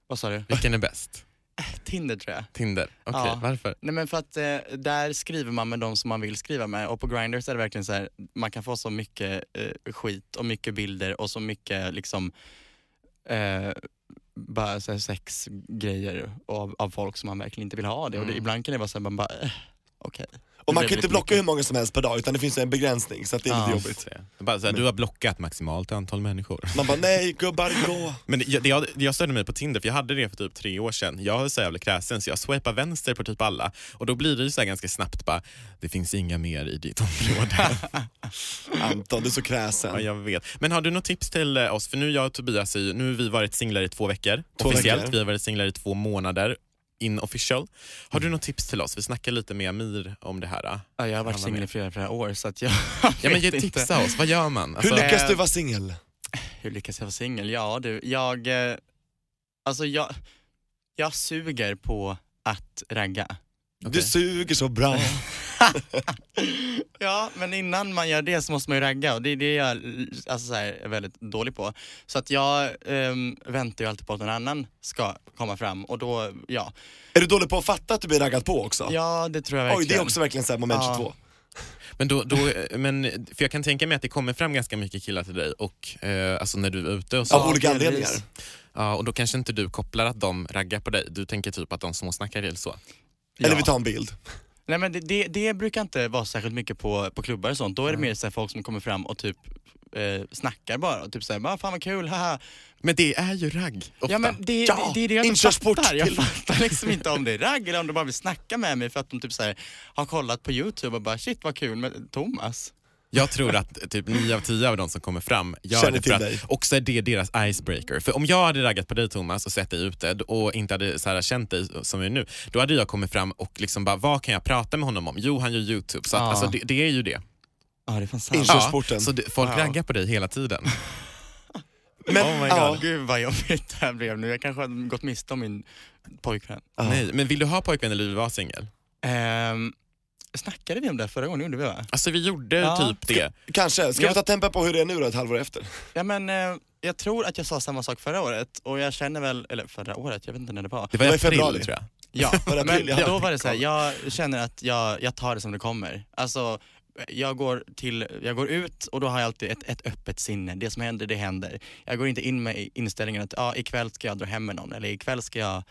S1: Vad sa du?
S2: Vilken är bäst?
S1: Tinder tror jag.
S2: Tinder? Okej,
S1: Ja.
S2: varför?
S1: Nej men för att eh, där skriver man med de som man vill skriva med och på Grindr så är det verkligen så här, man kan få så mycket eh, skit och mycket bilder och så mycket liksom eh, bara så här sexgrejer av, av folk som man verkligen inte vill ha det och det, ibland kan det vara så här, man bara eh, okej.
S3: Mm. Och man
S1: Det
S3: kan
S1: blir
S3: inte
S1: väldigt
S3: blocka
S1: mycket.
S3: hur många som helst per dag utan det finns en begränsning så att det är lite
S1: Ja.
S3: jobbigt.
S2: Bara så här, du har blockat maximalt antal människor.
S3: Man bara, nej gubbar gå.
S2: Men det, jag- det, jag, jag störde mig på Tinder, för jag hade det för typ tre år sedan. Jag är så jävla kräsen så jag swipar vänster på typ alla. Och då blir det ju så här ganska snabbt bara, det finns inga mer i ditt område.
S3: Anton, du är så
S2: ja,
S3: kräsen.
S2: jag vet. Men har du något tips till eh, oss? För nu jag och Tobias, är ju- nu har vi varit singlar i två veckor.
S3: Två
S2: officiellt,
S3: veckor.
S2: vi har varit singlar i två månader. Inofficial. Har du något tips till oss? Vi snackade lite med Amir om det här. eh.
S1: Ja, jag har varit
S2: var
S1: singel i
S2: med.
S1: flera, flera år så att jag
S2: Ja, men
S1: vet
S2: ge-
S1: inte.
S2: tipsa oss, vad gör man?
S3: Hur
S2: Alltså-
S1: eh,
S3: lyckas du vara singel?
S1: Hur lyckas jag vara singel? Ja du, jag, eh, alltså jag, jag suger på att ragga.
S3: Du suger så bra.
S1: ja, men innan man gör det så måste man ju ragga och det är det jag alltså, så här, är väldigt dålig på. Så att jag ehm, väntar ju alltid på att någon annan ska komma fram och då, ja.
S3: Är du dålig på att fatta att du blir raggad på också?
S1: Ja, det tror jag
S3: Oj,
S1: verkligen.
S3: det är också verkligen så här moment
S1: Ja.
S3: 22.
S2: Men, då, då, men för jag kan tänka mig att det kommer fram ganska mycket killar till dig och, eh, alltså när du är ute och så.
S3: Av
S2: Ja.
S3: olika
S1: delvis.
S3: anledningar.
S2: och då kanske inte du kopplar att de raggar på dig. Du tänker typ att de småsnackar eller så.
S1: Ja.
S3: Eller vi tar en bild.
S1: Nej men det, det, det brukar inte vara särskilt mycket på, på klubbar och sånt. Då är
S3: Mm.
S1: det mer så här, folk som kommer fram och typ eh, snackar bara. Och typ såhär, bara, fan vad kul, haha.
S2: Men det är ju ragg ofta.
S1: Ja men det,
S3: Ja,
S1: det, det är det jag inte
S3: inkörsport
S1: fattar. Jag
S3: till-
S1: fattar liksom inte om det är ragg eller om de bara vill snacka med mig för att de typ så här, har kollat på YouTube och bara shit vad kul med Thomas.
S2: Jag tror att typ nio av tio av de som kommer fram gör
S3: Känner
S2: det
S3: till
S2: för att
S3: dig.
S2: också är det deras icebreaker. För om jag hade raggat på dig Thomas och sett dig ute och inte hade så här, känt dig som jag är nu, då hade jag kommit fram och liksom bara, vad kan jag prata med honom om? Jo, han gör YouTube. Så att,
S1: Ja.
S2: alltså, det, det är ju det.
S1: Ja det är fan sant.
S3: Ja. Körsporten.
S2: så det, folk raggar på dig hela tiden.
S3: Men,
S2: Oh my God.
S3: ja.
S1: Gud vad jobbigt det här blev nu. Jag kanske hade gått miste om min pojkvän.
S2: Nej, men vill du ha pojkvän eller vill du vara singel?
S1: Ehm, snackade vi om det här förra gången? gjorde vi va?
S2: Alltså vi gjorde
S1: Ja.
S2: typ det.
S3: Kanske. Ska
S1: Ja.
S3: vi ta tempen på hur det är nu då, ett halvår efter?
S1: Ja men eh, jag tror att jag sa samma sak förra året och jag känner väl, eller förra året, jag vet inte när det var.
S2: Det var i
S3: Det var i
S2: april
S3: februari.
S2: tror jag.
S1: Ja,
S3: Var det april?
S1: men
S3: Ja,
S1: då var det så här, jag känner att jag, jag tar det som det kommer. Alltså, jag går, till, jag går ut och då har jag alltid ett, ett öppet sinne. Det som händer, det händer. Jag går inte in med inställningen att ah, ikväll ska jag dra hem med någon eller ikväll ska jag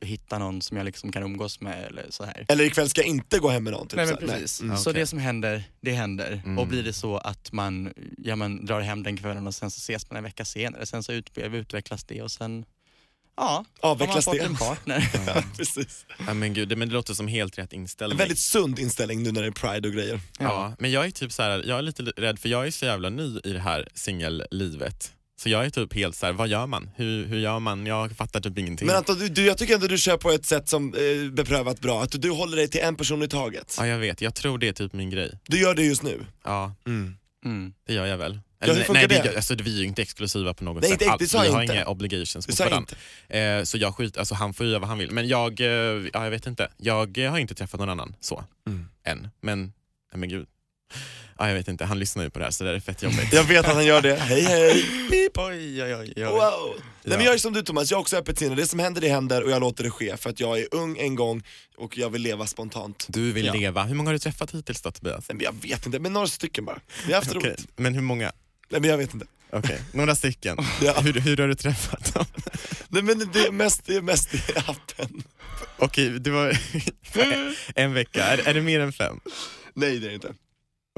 S1: hitta någon som jag liksom kan umgås med eller så här.
S3: Eller ikväll ska jag inte gå hem med någon. Typ,
S1: Nej men
S3: så här.
S1: precis.
S3: Mm.
S1: Så
S2: okej. Mm.
S1: det som händer, det händer. Och blir det så att man, ja, man drar hem den kvällen och sen så ses man en vecka senare, sen så ut, utvecklas det och sen, ja,
S3: Avvecklas
S1: har man
S3: det.
S1: fått en partner.
S3: precis.
S2: Ja, men gud, det, men det låter som helt rätt
S3: En
S2: inställning.
S3: väldigt sund inställning nu när det är pride och grejer.
S2: ja, men jag är typ så här, jag är lite rädd för jag är så jävla ny i det här singellivet. Så jag är typ helt så här, vad gör man? Hur, hur gör man? Jag fattar typ ingenting.
S3: Men Anton, du, du, jag tycker ändå du kör på ett sätt som eh, beprövat bra, att du, du håller dig till en person i taget.
S2: Ja, jag vet. Jag tror det är typ min grej.
S3: Du gör det just nu.
S2: Ja,
S1: Mm.
S2: det gör jag väl.
S3: hur funkar
S2: nej, vi,
S3: det?
S2: alltså, vi är ju inte exklusiva på något
S3: Nej,
S2: sätt
S3: det- det
S2: alls.
S3: sa
S2: vi
S3: jag
S2: har
S3: inte.
S2: inga obligations
S3: Det
S2: mot
S3: sa jag
S2: varandra. Eh, så jag skit, alltså, han får göra vad han vill. Men jag, eh, ja, jag vet inte. Jag eh, har inte träffat någon annan så,
S3: Mm.
S2: än. Men, nej, men gud. Ja, jag vet inte, han lyssnar ju på det här så det är fett jobbigt.
S3: Jag vet att han gör det. Hej hej!
S1: Oj, oj, oj, oj.
S3: Wow! Nej, men jag är som du Thomas, jag har också öppet sinne. Det som händer det händer och jag låter det ske för att jag är ung en gång och jag vill leva spontant.
S2: Du vill
S1: Ja.
S2: leva. Hur många har du träffat hittills då Tobias?
S3: Nej, men jag vet inte, men några stycken bara. Vi har haft
S2: Okej,
S3: roligt.
S2: Men hur många?
S3: Nej men jag vet inte.
S2: Okej, några stycken.
S3: Ja.
S2: hur, hur har du träffat dem?
S3: Nej men det är mest, det är mest i appen.
S2: Okej, det var en vecka. Är, är det mer än fem?
S3: Nej det är det inte.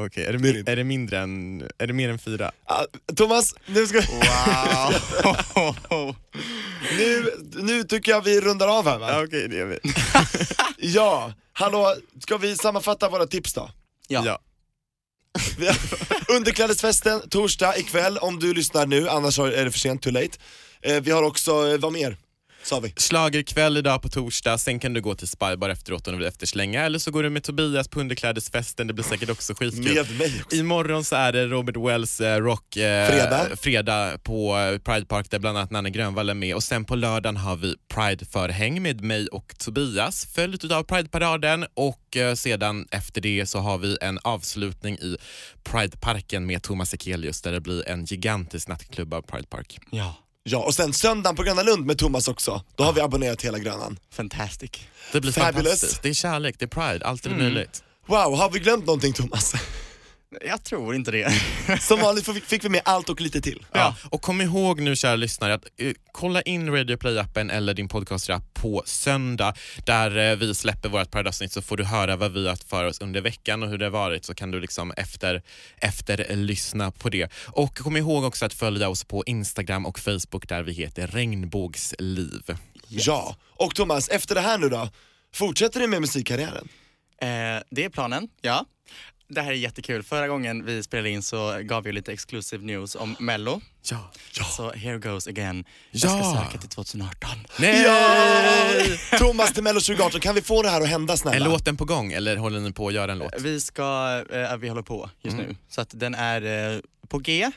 S2: Okej, är, det,
S3: Det är det
S2: mi-
S3: inte.
S2: är det mindre än, är det mer än fyra?
S3: Ah, Thomas, nu ska
S2: Wow!
S3: nu, nu tycker jag vi rundar av här va?
S2: Okej, det gör vi.
S3: Ja, hallå, ska vi sammanfatta våra tips då?
S1: Ja.
S2: Ja.
S3: Vi har- Underklädesfesten torsdag ikväll om du lyssnar nu, annars har- är det för sent, too late. Eh, vi har också, eh, vad mer? Sa vi.
S2: Schlagerkväll idag på torsdag, sen kan du gå till Spybar efteråt om du vill efterslänga eller så går du med Tobias på underklädesfesten, det blir säkert också skitkul.
S3: Med mig också.
S2: Imorgon så är det Robert Wells eh, rock eh,
S3: Fredag.
S2: fredag på eh, Pride Park där bland annat Nanne Grönvall är med och sen på lördagen har vi Pride-förhäng med mig och Tobias följt utav Pride-paraden och eh, sedan efter det så har vi en avslutning i Pride-parken med Thomas Ekelius där det blir en gigantisk nattklubb av Pride Park.
S1: Ja,
S3: Ja, och sen söndagen på Gröna Lund med Thomas också. Då har vi abonnerat hela Grönan.
S1: fantastic.
S2: Det blir
S3: Fabulous. Mm.
S2: fantastiskt. Det är kärlek, det är Pride, allt är möjligt.
S3: Wow, har vi glömt någonting Thomas?
S1: Jag tror inte det.
S3: Som vanligt fick- fick vi med allt och lite till.
S2: Ja. Och kom ihåg nu kära lyssnare att eh, kolla in Radio Play-appen eller din podcastrapp på söndag där eh, vi släpper vårt Paradise-avsnitt så får du höra vad vi har haft för oss under veckan och hur det har varit så kan du liksom efter, efter eh, lyssna på det. Och kom ihåg också att följa oss på Instagram och Facebook där vi heter Regnbågsliv.
S3: Ja, och Thomas, efter det här nu då? Fortsätter du med musikkarriären?
S1: Eh, det är planen, ja. Det här är jättekul. Förra gången vi spelade in så gav jag lite exclusive news om Mello.
S2: Ja.
S1: Så here goes again. Jag
S2: Ja.
S1: ska söka till 2018.
S2: Nej!
S3: Thomas till Mello 2018, kan vi få det här att hända
S2: Är
S3: snälla?
S2: låten på gång eller håller ni på att göra en låt?
S1: Vi ska, eh, vi håller på just nu. Så att den är eh, på G